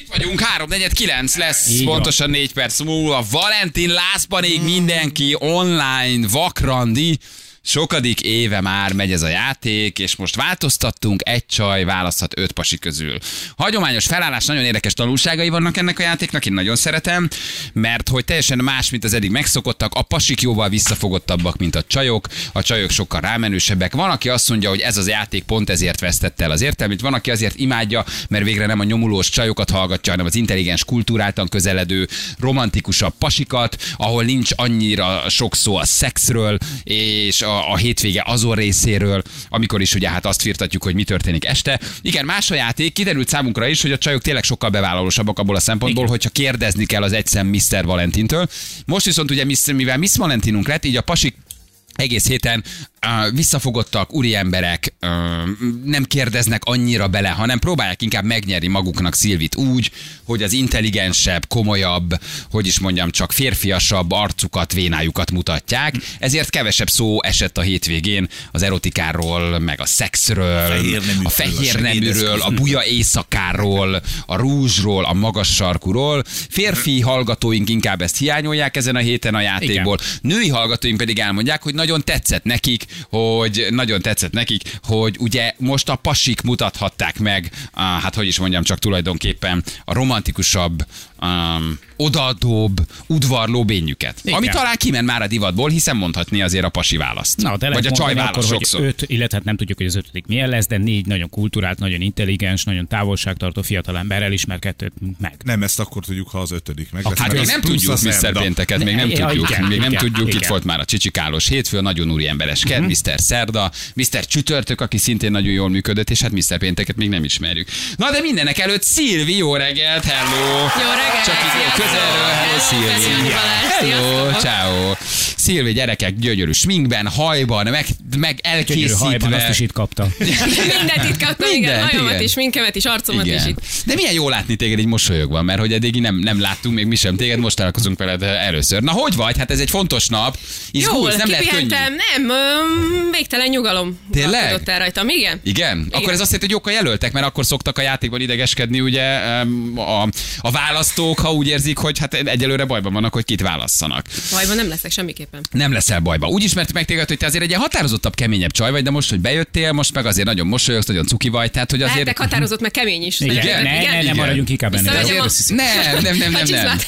Itt vagyunk, 3.49 lesz, Így pontosan 4 perc múlva. Valentin lázban ég mindenki online, vakrandi. Sokadik éve már megy ez a játék, és most változtattunk, egy csaj választhat öt pasi közül. Hagyományos felállás nagyon érdekes tanulságai vannak ennek a játéknak, én nagyon szeretem, mert hogy teljesen más, mint az eddig megszokottak, a pasik jóval visszafogottabbak, mint a csajok, a csajok sokkal rámenősebbek. Van, aki azt mondja, hogy ez az játék pont ezért vesztett el az értelmét, van, aki azért imádja, mert végre nem a nyomulós csajokat hallgatja, hanem az intelligens, kultúráltan közeledő, romantikusabb pasikat, ahol nincs annyira sok szó a szexről, és a a, a hétvége azon részéről, amikor is ugye hát azt firtatjuk, hogy mi történik este. Igen, más a játék, kiderült számunkra is, hogy a csajok tényleg sokkal bevállalósabbak abból a szempontból, Igen. hogyha kérdezni kell az egyszem Mr. Valentintől. Most viszont ugye mivel Miss Valentinunk lett, így a pasik egész héten uh, visszafogottak, úriemberek uh, nem kérdeznek annyira bele, hanem próbálják inkább megnyerni maguknak Szilvit úgy, hogy az intelligensebb, komolyabb, hogy is mondjam, csak férfiasabb arcukat, vénájukat mutatják. Ezért kevesebb szó esett a hétvégén az erotikáról, meg a szexről, a fehér neműről, a, a buja éjszakáról, a rúzsról, a magas sarkuról. Férfi hallgatóink inkább ezt hiányolják ezen a héten a játékból. Igen. Női hallgatóink pedig elmondják, hogy nagyon tetszett nekik, hogy nagyon tetszett nekik, hogy ugye most a pasik mutathatták meg, a, hát hogy is mondjam, csak tulajdonképpen a romantikusabb, um, odaadóbb, udvarló bényüket. Igen. Ami talán kiment már a divatból, hiszen mondhatni azért a pasi választ. Na, de Vagy a csaj akkor, választ sokszor. Hogy öt, illetve hát nem tudjuk, hogy az ötödik milyen lesz, de négy nagyon kultúrált, nagyon intelligens, nagyon távolságtartó fiatal emberrel ismerkedtünk meg. Nem, ezt akkor tudjuk, ha az ötödik meg. Hát még nem tudjuk Mr. Pénteket, még nem tudjuk. Még nem tudjuk, itt volt már a csicsikálós hétfő, nagyon úri emberes ked, Mr. Szerda, Mr. Csütörtök, aki szintén nagyon jól működött, és hát Mr. Pénteket még nem ismerjük. Na de mindenek előtt Szilvi, jó reggelt, hello! Jó reggelt! Csak így közelről, hello Szilvi! Hello, ciao! Szilvi gyerekek gyönyörű sminkben, hajban, meg, meg Gyönyörű hajban, azt elkészítve. is itt kapta. Mindent itt kaptam, igen, Mindent, hajamat igen. is, minkemet is, arcomat is Igen. itt. De milyen jó látni téged így mosolyogva, mert hogy eddig nem, nem láttunk még mi sem téged, most találkozunk veled eh, először. Na hogy vagy? Hát ez egy fontos nap. Izgulsz, Jól, nem lehet könnyű. kipihentem, nem, öm, végtelen nyugalom. Tényleg? alkotott el rajtam, igen. Igen? Akkor ez azt jelenti, hogy jók a jelöltek, mert akkor szoktak a játékban idegeskedni ugye em, a, a választók, ha úgy érzik, hogy hát egyelőre bajban vannak, hogy kit válasszanak. Bajban nem leszek semmiképpen. Nem leszel bajba. Úgy ismert meg téged, hogy te azért egy ilyen határozottabb, keményebb csaj vagy, de most, hogy bejöttél, most meg azért nagyon mosolyogsz, nagyon cuki vagy, tehát hogy Azért... azért... Hát, de határozott, meg kemény is. Igen, ne, ne, ne Igen. maradjunk inkább ennél. Visszamegyek De- a- azért... Nem, nem, nem, nem, nem.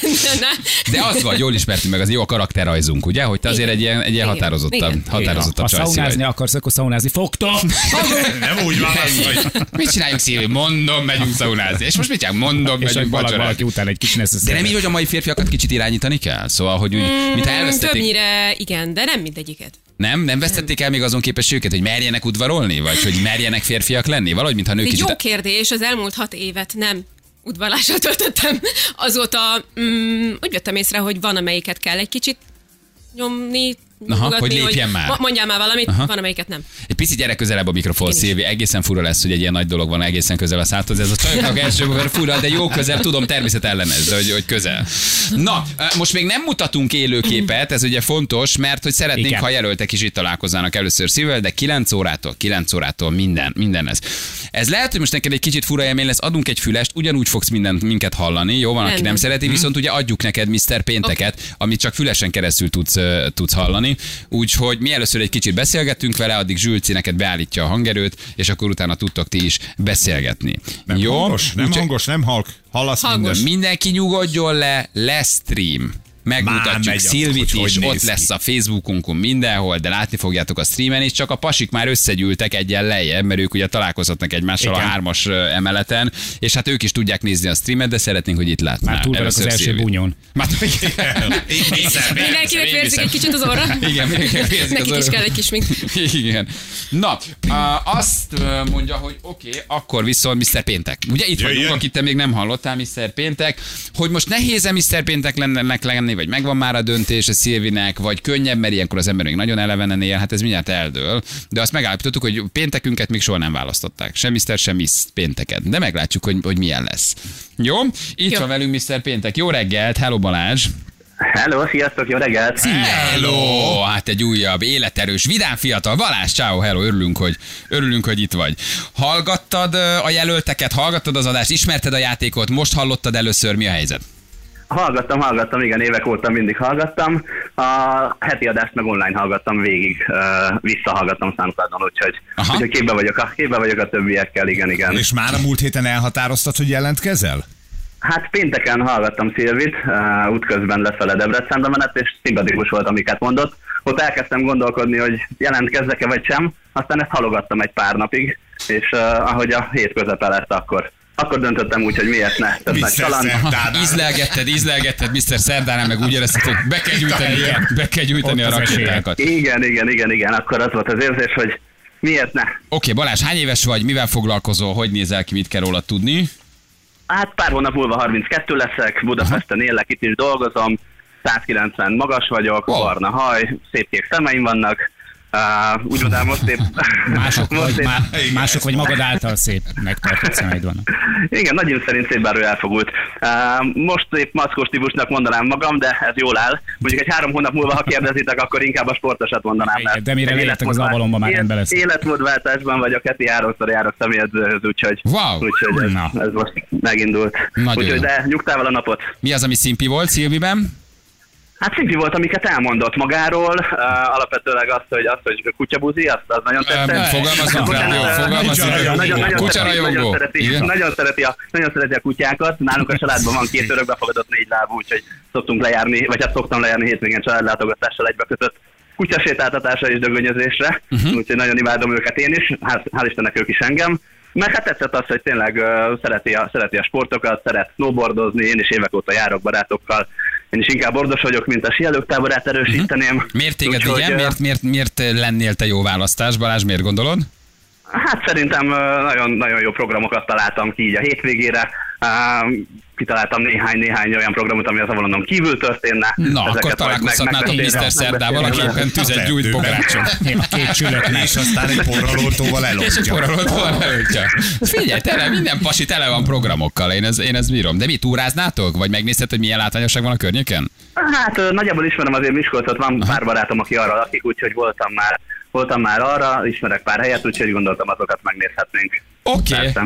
De az vagy, jól ismertünk meg, az jó a karakterrajzunk, ugye? Hogy te azért egy ilyen, egy ilyen Igen. határozottabb, Igen. határozottabb Ha csajszi vagy. szaunázni akarsz, akkor szaunázni fogtok. Nem úgy válaszolj. Mit csináljunk, Szilvi? Mondom, megyünk szaunázni. És most mit csinálunk? Mondom, És hogy megyünk valaki, vacsorázni. valaki után egy kis nesz De nem így, hogy a mai férfiakat kicsit irányítani kell? Szóval, hogy úgy, mintha elvesztették, Mm, Többnyire igen, de nem mindegyiket. nem, nem vesztették el még azon képességüket, hogy merjenek udvarolni, vagy hogy merjenek férfiak lenni? Valahogy, mintha nők Egy kicsit... jó kérdés, az elmúlt hat évet nem udvarlásra töltöttem. Azóta mm, úgy vettem észre, hogy van, amelyiket kell egy kicsit nyomni, nyomgatni, hogy lépjen már. ma- Mondjál már valamit, Aha. van, amelyiket nem. Egy picit gyere közelebb a mikrofon, Én is. Szilvi. Egészen fura lesz, hogy egy ilyen nagy dolog van egészen közel a szádhoz. Ez a csajoknak első mert fura, de jó közel, tudom, természet ellenez, de hogy, hogy közel. Na, most még nem mutatunk élőképet, ez ugye fontos, mert hogy szeretnénk, Igen. ha jelöltek is itt találkoznának először Szilvivel, de 9 órától, 9 órától minden, minden ez. Ez lehet, hogy most neked egy kicsit fura élmény lesz, adunk egy fülest, ugyanúgy fogsz mindent minket hallani, jó van, aki nem Rendben. Mhm. szereti, viszont ugye adjuk neked Mr. Pénteket, amit csak fülesen keresztül tudsz, ö, tudsz hallani. Úgyhogy mi először egy kicsit beszélgetünk vele, addig Zsülci neked beállítja a hangerőt, és akkor utána tudtok ti is beszélgetni. Nem jó? hangos, nem Úgyhogy hangos, nem halk. Hallasz Hangos. minden. Mindenki nyugodjon le, lesz stream. Már Megmutatjuk megy akkor, Szilvit hogy is, hogy ott néz lesz ki. a Facebookunkon mindenhol, de látni fogjátok a streamen is, csak a pasik már összegyűltek egyen lejjebb, mert ők ugye találkozhatnak egymással Igen. a hármas ö, emeleten, és hát ők is tudják nézni a streamet, de szeretnénk, hogy itt látnál. Már túl vagyok Először az első Szilvit. búnyon. Már igen. Én hiszem, én hiszem, Mindenkinek én vérzik hiszem. egy kicsit az orra. Igen, mindenkinek vérzik az Nekik is orra. kell egy kis mink. Igen. Na, á, azt ö, mondja, hogy oké, okay, akkor viszont Mr. Péntek. Ugye itt Jöjjön. vagyunk, akit te még nem hallottál, Mr. Péntek, hogy most nehéz-e Mr. Péntek lennek lenni, vagy megvan már a döntés a Szilvinek, vagy könnyebb, mert ilyenkor az emberünk nagyon elevenen él, hát ez mindjárt eldől. De azt megállapítottuk, hogy péntekünket még soha nem választották. Sem Mr. sem Miss Pénteket. De meglátjuk, hogy, hogy milyen lesz. Jó? Itt Jó. van velünk Mr. Péntek. Jó reggelt, hello Balázs! Hello, sziasztok, jó reggelt! Hello! Hát egy újabb, életerős, vidám fiatal. Balázs, ciao, hello, örülünk, hogy, örülünk, hogy itt vagy. Hallgattad ö, a jelölteket, hallgattad az adást, ismerted a játékot, most hallottad először, mi a helyzet? Hallgattam, hallgattam, igen, évek óta mindig hallgattam. A heti adást meg online hallgattam végig, ö, visszahallgattam számukádon, úgyhogy, Aha. úgyhogy képbe, vagyok a, képbe vagyok a többiekkel, igen, igen. És már a múlt héten elhatároztad, hogy jelentkezel? Hát pénteken hallgattam Szilvit, uh, útközben lefele Debrecenbe menet, és szimpatikus volt, amiket mondott. Ott elkezdtem gondolkodni, hogy jelentkezzek-e vagy sem, aztán ezt halogattam egy pár napig, és uh, ahogy a hét közepe lett, akkor, akkor döntöttem úgy, hogy miért ne. Tök nagy Vissza kaland. Hát szerdán. Ízlelgetted, ízlelgetted, Mr. Szerdánál, meg úgy érezted, hogy be kell gyűjteni, be kell gyűjteni Ott a az esélyed. rakétákat. Oké, Igen, igen, igen, igen, akkor az volt az érzés, hogy miért ne. Balázs, hány éves vagy, mivel foglalkozol, hogy nézel ki, mit kell róla tudni? Hát pár hónap múlva 32 leszek, Budapesten élek, itt is dolgozom, 190 magas vagyok, Wow. wow. barna haj, szép kék szemeim vannak, uh, úgymond el most épp... Mások, most vagy, épp- má, mások vagy magad által szép megtartott szemeid vannak. Igen, nagyim szerint szép bárő elfogult. Uh, most épp mackós típusnak mondanám magam, de ez jól áll. Mondjuk egy három hónap múlva, ha kérdezitek, akkor inkább a sportosat mondanám. Igen, mert de mire egy leértek az életmódvá- avalomba, már élet- rendben lesz. Életmódváltásban vagyok, heti háromszor járok személyedzőhöz, úgyhogy, Wow. úgyhogy Na. ez, ez, most megindult. Nagyon úgyhogy jó. de nyugtával a napot. Mi az, ami szimpi volt Szilviben? Hát szimpi volt, amiket elmondott magáról, uh, alapvetőleg azt, hogy, azt, hogy kutyabuzi, azt az nagyon tetszett. Nem, fogalmazunk rá, jó, fogalmazunk Nagyon- nagyon- rá. nagyon szereti- Kucsarajongó. Nagyon szereti, Igen? nagyon, szereti a, nagyon szereti a kutyákat. Nálunk a családban van két örökbefogadott négy lábú, úgyhogy szoktunk lejárni, vagy hát szoktam lejárni hétvégén családlátogatással egybekötött kutyasétáltatásra és dögönyözésre, uh-huh. úgyhogy nagyon imádom őket én is, hát hál' Istennek ők is engem. Meg hát tetszett az, hogy tényleg uh, szereti, a, szereti a sportokat, szeret snowboardozni, én is évek óta járok barátokkal, én is inkább ordos vagyok, mint a síelőktáborát erősíteném. Uh-huh. Miért téged vigyen? Miért, miért, miért lennél te jó választás, Balázs, miért gondolod? Hát szerintem ö, nagyon, nagyon jó programokat találtam ki így a hétvégére. Á, Kitaláltam néhány-néhány olyan programot, ami az avalonon kívül történne. Na, Ezeket akkor majd találkozhatnátok meg- megbeszélem- Mr. Szerdával, aki megbeszélem. éppen tüzet gyújt bográcson. Két csülöknek. És aztán egy porralótóval És egy eloltja. forradalom előttje. Figyelj, tele, minden pasi tele van programokkal, én ez, én ez bírom. De mi, túráznátok? Vagy megnézted, hogy milyen látványosság van a környéken? Hát ö, nagyjából ismerem azért Miskolcot, van pár barátom, aki arra lakik, úgyhogy voltam már, voltam már arra, ismerek pár helyet, úgyhogy gondoltam azokat megnézhetnénk. Oké. Persze.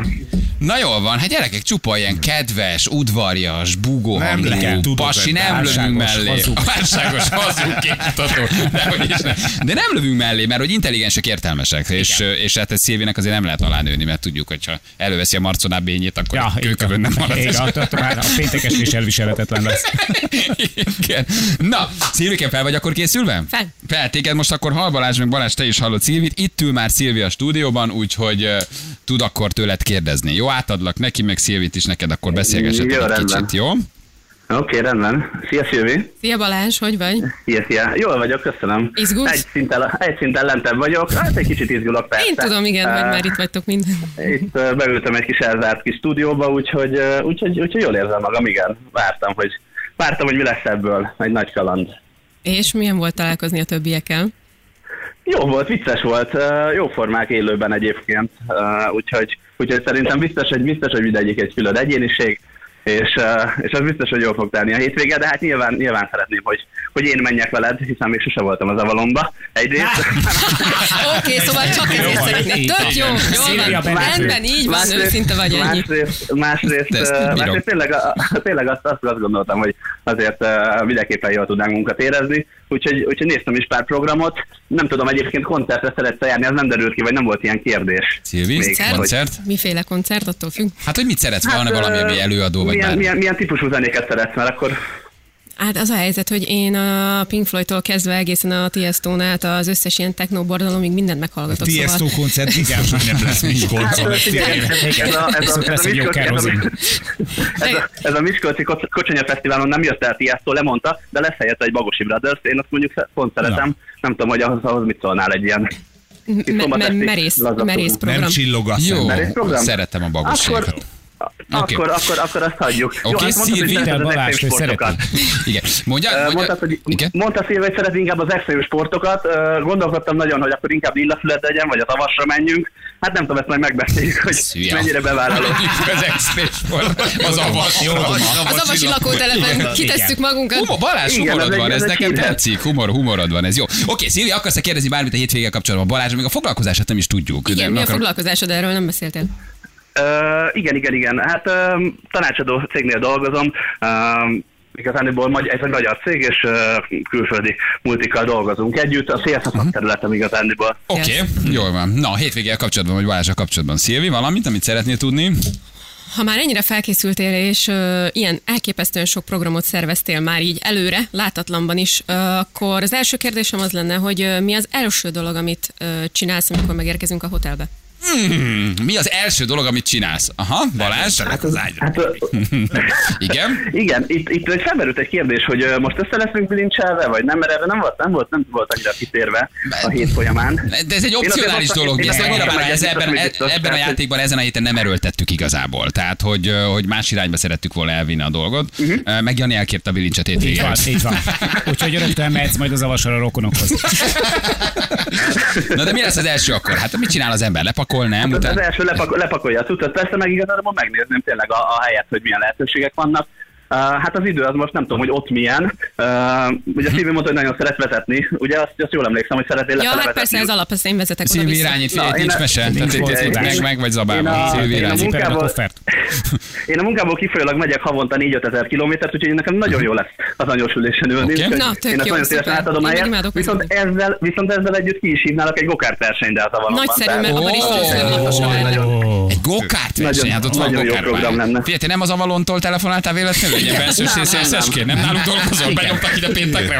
Na jól van, hát gyerekek, csupa ilyen kedves, udvarjas, búgó Nem lehet, hangú, tudod, pasi, ez nem lövünk álságos, mellé. hazug. Válságos, hazug, képmutató. Dehogy is nem. De nem lövünk mellé, mert hogy intelligensek, értelmesek, és, és hát egy Szilvének azért nem lehet alánőni, mert tudjuk, hogy ha előveszi a marconá bényét, akkor ja, kőkövön nem marad. Igen, attól már a péntekes is elviselhetetlen lesz. Igen. Na, Szilvike, fel vagy akkor készülve? Fel. Fel, téged most akkor hal Balázs, meg Balázs, te is hallod Szilvit. Itt ül már Szilvi a stúdióban, úgyhogy uh, tud akkor tőled kérdezni. Jó, átadlak neki, meg Szilvit is neked, akkor beszélgessetek Jó, egy rendben. kicsit, jó? Oké, okay, rendben. Szia Szilvi! Szia Balázs, hogy vagy? Szia, szia. Jól vagyok, köszönöm. Izgulsz? Egy szinten, egy szinten lentebb vagyok, hát egy kicsit izgulok persze. Én tudom, igen, Eh, hogy már itt vagytok minden. Itt ö, beültem egy kis elzárt kis stúdióba, úgyhogy, ö, úgyhogy, úgyhogy jól érzem magam, igen. Vártam, hogy, vártam, hogy mi lesz ebből, egy nagy kaland. És milyen volt találkozni a többiekkel? Jó volt, vicces volt, ö, jó formák élőben egyébként, ö, úgyhogy, úgyhogy szerintem biztos, hogy biztos, hogy mindegyik egy külön egyéniség, és, ö, és az biztos, hogy jól fog tenni a hétvége, de hát nyilván, nyilván szeretném, hogy, hogy én menjek veled, hiszen még sose voltam az avalomba. Egyrészt, Oké, okay, szóval csak ezért szeretnék. Tök jó, jól van. Rendben, így van, őszinte vagy ennyi. Másrészt, másrészt, De ezt így ö, bírom. másrészt tényleg, a- a- tényleg azt, azt, azt gondoltam, hogy azért ö, mindenképpen jól tudnánk munkat érezni, úgyhogy, úgyhogy néztem is pár programot. Nem tudom, egyébként koncertre szeretsz járni, ez nem derült ki, vagy nem volt ilyen kérdés. Szilvi, Még, Koncert? koncert? Miféle koncert, attól függ. Hát, hogy mit szeretsz volna valami, ö, ami előadó vagy milyen, bármi? milyen, milyen típusú zenéket szeretsz, mert akkor Hát az a helyzet, hogy én a Pink Floydtól kezdve egészen a Tiesto-n át az összes ilyen technobordalomig mindent meghallgatok. szóval- Tiesto koncert, biztos, hogy nem lesz Hát, Miskolcon. Hát, ez a, ez a, Viszont ez lesz a, egy jó Miskolci- ez a, kerozin. ez a, ez a Miskolci Kocs- Kocsonya Fesztiválon nem jött el Tiesto, lemondta, de lesz helyette egy Bagosi Brothers, én azt mondjuk pont szeretem, nem tudom, hogy ahhoz, ahhoz mit szólnál egy ilyen me- me- szombat esti merész, laza merész program. Nem hát, program. csillogasz. Jó, Mert egy program. szeretem a bagosékat. Akkor, Oké. Akkor, akkor, akkor azt hagyjuk. Oké, azt mondtad, hogy Szilvi, szereted Balázs, az extrém hogy sportokat. Igen. Mondja, Ö, mondja Mondtad, hogy, igen? mondta Szilvi, hogy szeret inkább az extrém sportokat. Ö, Gondolkodtam nagyon, hogy akkor inkább lillafület legyen, vagy a tavasra menjünk. Hát nem tudom, ezt majd megbeszéljük, hogy Szia. mennyire bevállalok. az extrém sport, az avas. Jó, tudom. Az avasi lakótelepen kitesszük magunkat. Humor, Balázs, Igen, humorod ez egy- van, ez ez egy nekem hírhet. tetszik, humor, humorod van, ez jó. Oké, Szilvi, akarsz-e kérdezni bármit a hétvéggel kapcsolatban? Balázs, még a foglalkozását nem is tudjuk. de Igen, mi a akarok- foglalkozásod, erről nem beszéltél. Ö, igen, igen, igen. Hát ö, tanácsadó cégnél dolgozom. Ö, igazániból magy- ez egy magyar cég, és ö, külföldi multikkal dolgozunk együtt. A CS uh-huh. területem igazániból. Oké, okay, jól van. Na, a hétvéggel kapcsolatban, vagy Balázsra kapcsolatban. Szilvi, valamit, amit szeretnél tudni? Ha már ennyire felkészültél, és ö, ilyen elképesztően sok programot szerveztél már így előre, látatlanban is, ö, akkor az első kérdésem az lenne, hogy ö, mi az első dolog, amit ö, csinálsz, amikor megérkezünk a hotelbe? Hmm, mi az első dolog, amit csinálsz? Aha, Balázs? Hát az ágyra. Hát, ö, Igen? igen, itt, itt egy felmerült egy kérdés, hogy ö, most össze leszünk bilincselve, vagy nem, mert erre nem volt, nem volt, nem volt annyira kitérve a hét folyamán. De ez egy opcionális azt- dolog, Hát, én biztos, azt annyira mondtam, már hogy ez ez ebben, e- biztos, hogy ebben a biztos. játékban, ezen a héten nem erőltettük igazából. Tehát, hogy, ö, hogy más irányba szerettük volna elvinni a dolgot. Mhm. Ö, Meg Jani elkérte a bilincset Így hétvégén. van, így van. Úgyhogy öröktől mehetsz majd az avasra a rokonokhoz. Na de mi lesz az első akkor? Hát mit csinál az ember? Lepakol, nem? Az Utána? első lepak, lepakolja a cuccot, persze meg igazából megnézném tényleg a, a helyet, hogy milyen lehetőségek vannak. Uh, hát az idő az most nem tudom, hogy ott milyen. Uh, ugye Szilvi mondta, hogy nagyon szeret vezetni. Ugye azt, azt jól emlékszem, hogy szeretnél Ja, lefele hát vezetni. persze ez alap, ezt én vezetek oda Szilvi vissza. irányít, Na, figyelj, én nincs a- mese. nincs Tehát itt- volt itt tudás. meg- meg vagy Én zabálva. a- Szilvi én a irányít. munka- Cipeled a Munkából- koffert. Én a munkából kifolyólag megyek havonta 4-5 ezer kilométert, úgyhogy nekem nagyon jó lesz az anyósülésen ülni. Oké. úgyhogy Na, tök én azt jó, nagyon szuper. szívesen átadom Én meg helyet. imádok Viszont vezetni. ezzel, viszont ezzel együtt ki is hívnálak egy gokár versenyre a tavalamban. Nagyszerű, Tehát- mert abban is Ó, győzelmi ó, hasa lenne. Egy gokárt verseny, Nagyon- hát ott van nagyon jó gokart program már. lenne. Figyelj, te nem az Avalontól telefonáltál véletlenül? Egy ilyen belső Nem, nem, nem. szélszesként? Nem náluk dolgozol? Benyomtak ide péntekre,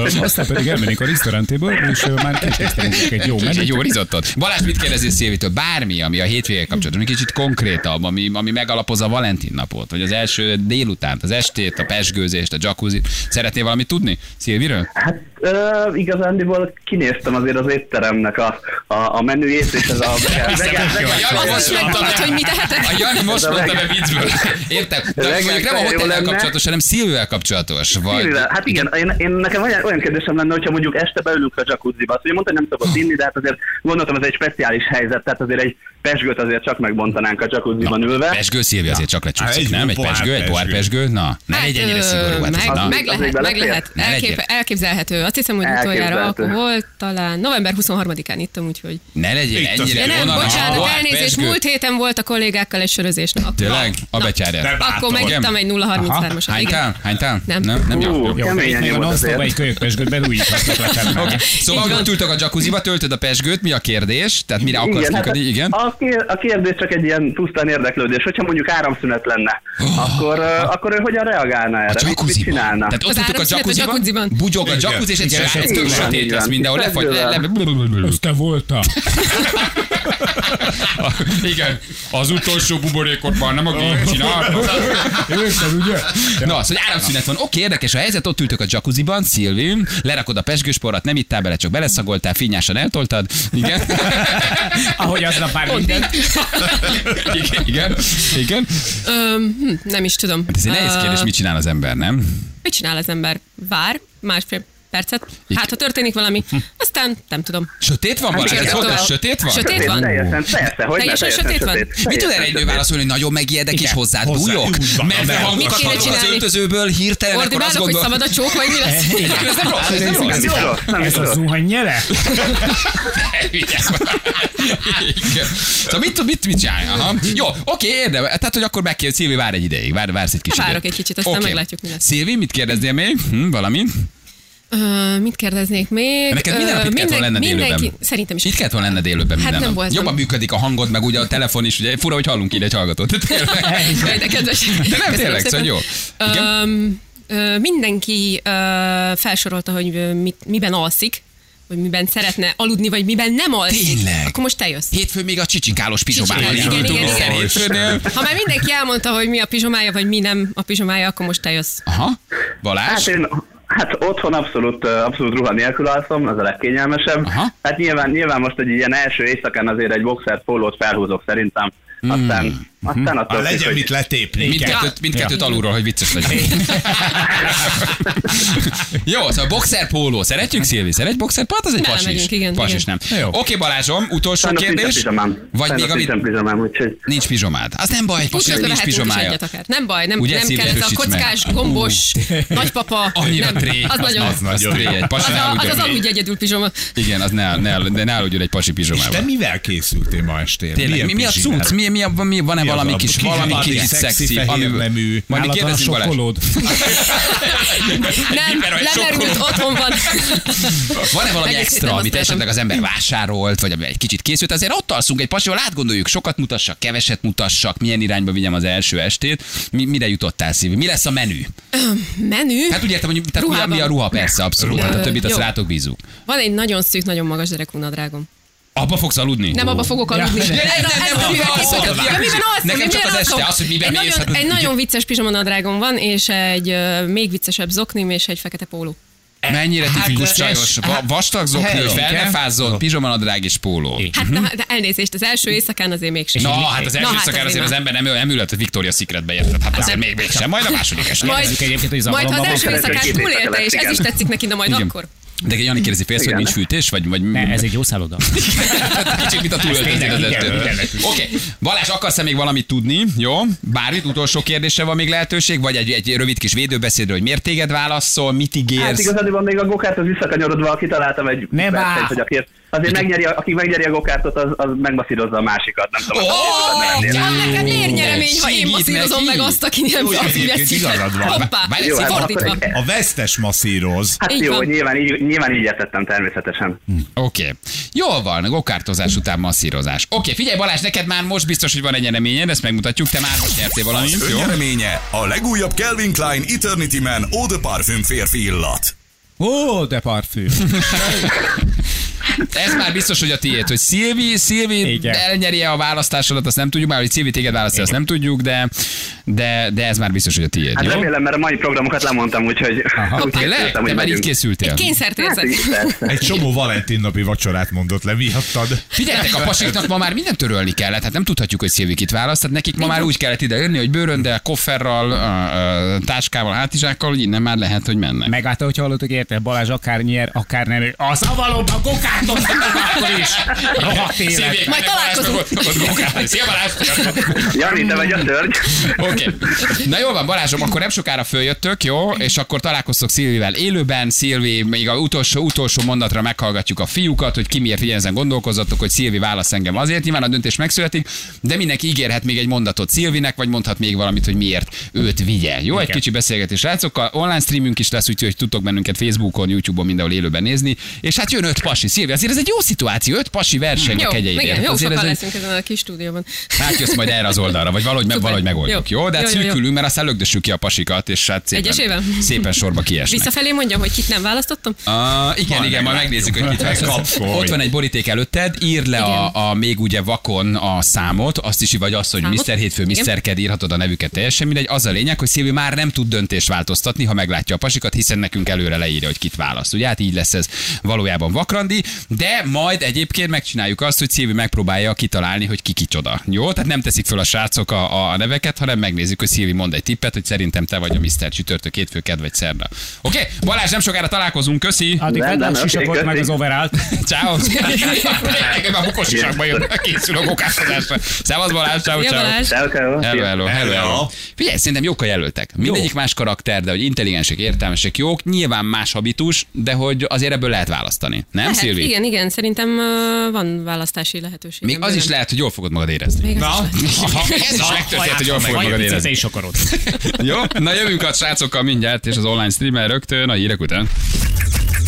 hogy Aztán pedig elmennék a restaurantéből, és ö, már kitesztelünk egy jó Egy menüt. jó rizottot. Balázs, mit kérdezzél Szilvitől? Bármi, ami a hétvégé kapcsolatban, egy kicsit konkrétabb, ami, ami megalapozza a Valentin napot, vagy az első délutánt, az estét, a pesgőzést, a jacuzzit. Szeretnél valamit tudni Szilviről? Hát ö, igazándiból kinéztem azért az étteremnek a, a, a menüjét, és ez a vegán, vegán, Jani Azt most mondta megtudod, be, hogy mit tehetek? a Jani most Ez a mondta be leg- viccből. Értem? De leg- mondjuk nem a jó hotellel lenne. kapcsolatos, hanem Szilvivel kapcsolatos. Vagy... Szilvivel, hát igen, én, én nekem olyan, olyan kérdésem lenne, hogyha mondjuk este beülünk a jacuzziba. Azt ugye mondta, hogy nem szabad inni, de hát azért gondoltam, ez egy speciális helyzet, tehát azért egy pesgőt azért csak megbontanánk a jacuzziban ülve. Pesgő Szilvi azért csak lecsúszik, egy nem? Egy pohár pesgő, egy pohár pesgő. pesgő. Na, ne Hát, egy ö, ennyire szigorú. Hát ez meg, na. meg Az lehet, még meg belefér? lehet. Ne legyél. Elkép, elképzelhető. Azt hiszem, hogy utoljára Elképzelhető. alkohol talán november 23-án ittam, úgyhogy. Ne legyél Itt az ennyire Ja, nem, vonalas. bocsánat, Pohár elnézést, pesgő. múlt héten volt a kollégákkal egy sörözés nap. Tényleg? A betyárját. Akkor hát, megittam egy 033-asat. Igen. Hánytál? Hánytál? Nem. Nem, nem jó. Hú, Jó, de itt keményen még a nyomod non azért. egy kölyökpesgőt belújíthatnak le fel. Oké. Így Szóval van. ott ültök a jacuzziba, töltöd a pesgőt, mi a kérdés? Tehát mire akarsz Igen, hát kikötni? Igen. a, kér, a kérdés csak egy ilyen pusztán érdeklődés. Hogyha mondjuk áramszünet lenne, akkor, ö, akkor ő hogyan reagálna erre? Oh. A Mit- Mit jacuzziban. csinálna? Tehát ott Az ültök a áramszünet a jacuzziban, jacuzziban. bugyog a Igen. jacuzzi, és egy Igen, srác tök igen, sötét igen. lesz mindenhol, lefagy, le, le, te voltál. Igen, az utolsó buborékodban nem a gép csinál. Érted, ugye? Na, az, hogy áramszünet van. Oké, érdekes a helyzet, ott ültök a jacuzziban, Szilvin, lerakod a pesgősporrat, nem ittál bele, csak beleszagoltál, finnyásan eltoltad. Igen. Ahogy aznap már minden. igen, igen, igen. Hát Öm, hm, nem is tudom. Ez egy nehéz Ö, kérdés, mit csinál az ember, nem? Mit csinál az ember? Vár másfél percet? Igen. Hát, ha történik valami, Hm. aztán nem tudom. Sötét van, Balázs? Hát igen, Ez ott volt, van. sötét van? Sötét Sötét, van. Teljesen, persze, hogy ne, Teljesen teljesen sötét sötét. van. Mit tud erre Teljesen egy nő sötét. válaszolni, hogy nagyon megijedek és Igen, hozzá hozzá, dújok? úgy van, Medve nem. hangokat Mit kéne hallok az csinálni? öltözőből, hirtelen akkor azt Ordibálok, hogy gondolom... szabad a csók, vagy mi lesz? Ez nem rossz, ez nem rossz. Nem is rossz, nem is Ez a rossz. zuhany nyele? Igen. szóval mit, mit, mit csinálj? Aha. Jó, oké, érdem. Tehát, hogy akkor meg kell, Szilvi, vár egy ideig, vár, vársz egy kicsit. Várok egy kicsit, aztán meglátjuk, mi lesz. Szilvi, mit kérdeznél még? Hm, valami? Ö, mit kérdeznék még? Neked minden Ö, nap itt kellett minden- volna lenned mindenki, élőben. Szerintem is. Itt kellett volna lenned élőben minden Hát nem nap. voltam. Jobban működik a hangod, meg ugye a telefon is, ugye fura, hogy hallunk így egy hallgatót. Tényleg. Jaj, de kedves. De nem, Köszönöm tényleg, szépen. szóval jó. Igen? Öm, ö, mindenki ö, felsorolta, hogy ö, mit, miben alszik, vagy miben szeretne aludni, vagy miben nem alszik. Tényleg? Akkor most te jössz. Hétfőn még a csicsikálós pizsomával Csicsikálós, indultunk igen, igen, minden igen. hétfőnél. Ha már mindenki elmondta, hogy mi a pizsomája, vagy mi nem a pizsomája, akkor most te jössz. Aha, Balázs? Hát én Hát otthon abszolút, ö, abszolút ruha nélkül alszom, az a legkényelmesebb. Aha. Hmm. Hát nyilván, nyilván most egy ilyen első éjszakán azért egy boxert, pólót felhúzok szerintem, aztán Aztán attól Ha függ, legyen hogy- mit letépni. Mindkettőt, mindkettőt alulról, hogy vicces legyen. Jó, szóval boxer póló. Szeretjük, Szilvi? Szeretj boxer? Hát az egy Nem, pas is. megyünk, igen, pas igen. is nem. Oké, Balázsom, utolsó Sajnos nincsen kérdés. pizsamám. Vagy még Sajnos amit... nincsen pizsamám, úgyhogy Nincs pizsomád. Az nem baj, egy Úgy pasinak nincs is pizsomája. egyet akár. Nem baj, nem, Ugye, nem Szilvia, kell ez a erősíts meg. kockás, gombós, nagypapa. Annyira nem, tré. az, nagyon. Az, az tré. Egy az, pasi ne a, az, az aludjon. aludj egyedül pizsoma. Igen, az ne, ne, ne, ne aludjon egy pasi És te pizsomában. mivel készültél ma estére? Tényleg, Milyen mi, mi a pizsinál? cucc? hát. Mi, mi, a, mi van-e Mi az valami a- kis, ki- valami valami kis szexi, szexi, fehér ami... nemű. Majd mi Nálad van a kérdezzük Balázs. sokkolód. Nem, Biberon, lemerült, sokkoló. otthon van. Van-e valami Egész extra, héten amit használtam. esetleg az ember vásárolt, vagy ami egy kicsit készült? Azért ott alszunk egy pasival, átgondoljuk, sokat mutassak, keveset mutassak, milyen irányba vigyem az első estét. Mi, mire jutottál, Szívi? Mi lesz a menü? Menü. Hát úgy értem, hogy tehát mi, a, Ruhában. mi a ruha, persze, abszolút. Hát a Ö, többit azt jó. rátok bízunk. Van egy nagyon szűk, nagyon magas derekú nadrágom. Abba fogsz aludni? Nem abba fogok aludni. Ja, Ez a- nem, nem, ez nem, a- nem, nem, miben alszol? nem, Ja, nem, miben alszol? Nekem csak Miben az alszol? este, az, hogy miben Egy mész, nagyon- hát- Egy nagyon vicces pizsomanadrágom van, és egy ö, még viccesebb zoknim, és egy fekete póló. Mennyire Hát, tipikus ez- csajos, va- vastag zokni, hogy fel ne fázzon, pizsomanadrág és póló. Hát na, de elnézést, az első éjszakán azért mégsem. Na, hát az első Na, hát szakár azért az nem. ember nem, nem ülhet a Victoria Secretbe, érted? Hát azért még, még sem, majd a második esetben. Majd, Érezzük egyébként, hogy majd ha zavaromban az van. első éjszakát Két éjszaka túlélte, és lesz, ez is igen. tetszik neki, na majd Igen. akkor. De Jani, kérdezi, félsz, hogy Igen. nincs fűtés, vagy, vagy Ne, ez egy jó szálloda. kicsit, mint a tényleg igen, túlöltöző. igen. Oké, Balázs, akarsz-e még valamit tudni? Jó, bármit, utolsó kérdésre van még lehetőség, vagy egy, egy rövid kis védőbeszédről, hogy miért téged válaszol, mit Hát ígérsz? igazából még a gokárthoz visszakanyarodva kitaláltam egy Ne versenyt, bá! hogy aki, azért megnyeri, aki megnyeri a gokártot, az, az megmasszírozza a másikat. Nem tudom, Ó, hogy tudod menni. Csak nekem lérnyeremény, ha én Segít masszírozom neki. meg azt, aki nem Jó, azt egyébként veszi. igazad van. Hoppá, Várj, Jó, hát fordítva. akkor- A vesztes masszíroz. Hát Így jó, van. nyilván így, nyilván így értettem természetesen. Oké. Jól van, gokártozás után masszírozás. Oké, figyelj Balázs, neked már most biztos, hogy van egy nyereményed, ezt megmutatjuk, te már most nyertél valamit, Az jó? önnyereménye a legújabb Calvin Klein Eternity Man Eau de Parfüm férfi illat. Ó, de parfüm. Ez már biztos, hogy a tiéd, hogy Szilvi, Szilvi Igen. elnyerje a választásodat, azt nem tudjuk, már hogy Szilvi téged választja, azt nem tudjuk, de, de, de ez már biztos, hogy a tiéd, Hát jó? remélem, mert a mai programokat lemondtam, úgyhogy Aha, úgy Tényleg? készültem, Te hogy már így megyünk. készültél. Hát Kényszertérzet. így, persze. Egy csomó Valentin napi vacsorát mondott le, miattad. Figyeljetek, a pasiknak ma már mindent törölni kellett, hát nem tudhatjuk, hogy Szilvi kit választ, tehát nekik ma már úgy kellett ide jönni, hogy bőröndel, kofferral, ö, ö, táskával, hátizsákkal, hogy innen már lehet, hogy mennek. Meg hát, hogy hallottuk, érted, Balázs akár nyer, akár nem. ő- Az a valóban gokátot nem akkor is. Rohadt élet. Majd találkozunk. Szia Balázs! Jani, te vagy a törgy. Oké. Na jól van, Balázsom, akkor nem sokára följöttök, jó? És akkor találkoztok Szilvivel élőben. Szilvi, még a utolsó, utolsó mondatra meghallgatjuk a fiúkat, hogy ki miért figyelj, ezen gondolkozottok, hogy Szilvi válasz engem azért. Nyilván a döntés megszületik, de mindenki ígérhet még egy mondatot Szilvinek, vagy mondhat még valamit, hogy miért őt vigye. Jó, egy kicsi beszélgetés rácokkal. Online streamünk is lesz, úgyhogy tudtok bennünket Facebookon, YouTube-on mindenhol élőben nézni. És hát jön öt pasi. Szilvi, azért ez egy jó szituáció, öt pasi verseny a Jó, igen, kegyeidért. jó Azért sokan ez egy- leszünk ezen a kis stúdióban. Átjössz Hát majd erre az oldalra, vagy valahogy, meg, Szuper. valahogy megoldjuk, jó? Jó. jó? De hát Jó, jó, jó. szűkülünk, mert aztán lögdössük ki a pasikat, és hát szépen, Egyesével? szépen sorba kiesnek. Visszafelé mondjam, hogy kit nem választottam? Uh, igen, Majd igen, majd meglátjuk. megnézzük, hogy mit vesz. Kapkodj. Ott van egy boríték előtted, írd le a, a, még ugye vakon a számot, azt is vagy azt, hogy Számot? Mr. Hétfő, Igen. Mr. Ked írhatod a nevüket, teljesen mindegy. Az a lényeg, hogy Szilvi már nem tud döntést változtatni, ha meglátja a pasikat, hiszen nekünk előre leírja, hogy kit választ. Ugye hát így lesz ez valójában vakrandi, de majd egyébként megcsináljuk azt, hogy Szilvi megpróbálja kitalálni, hogy ki kicsoda. Jó? Tehát nem teszik föl a srácok a, a neveket, hanem megnézzük, hogy Szilvi mond egy tippet, hogy szerintem te vagy a Mr. Csütörtök, hétfő, kedv vagy szerda. Oké, okay? Balázs, nem sokára találkozunk, köszi! Addig Nem, vedd le a nem, sisakot, oké, meg az köszi. overallt. Ciao. Tényleg, a bukos sisakba jön, készül a gokáztatásra. Szevasz Balázs, ciao, Szia, ciao. Balázs. Ciao, ciao. Hello, hello, hello, hello. Hello. Figyelj, szerintem jók a jelöltek. Mindegyik más karakter, de hogy intelligensek, értelmesek, jók, nyilván más habitus, de hogy azért ebből lehet választani. Nem, Lehet, Szilvi? igen, igen, szerintem ö, van választási lehetőség. Még az is lehet, hogy jól fogod magad érezni. Még az is lehet. Ez is megtörtént, hogy jól fogod Vagy magad picit érezni. is akarod. Jó? Na jövünk a srácokkal mindjárt, és az online streamer rögtön a hírek után.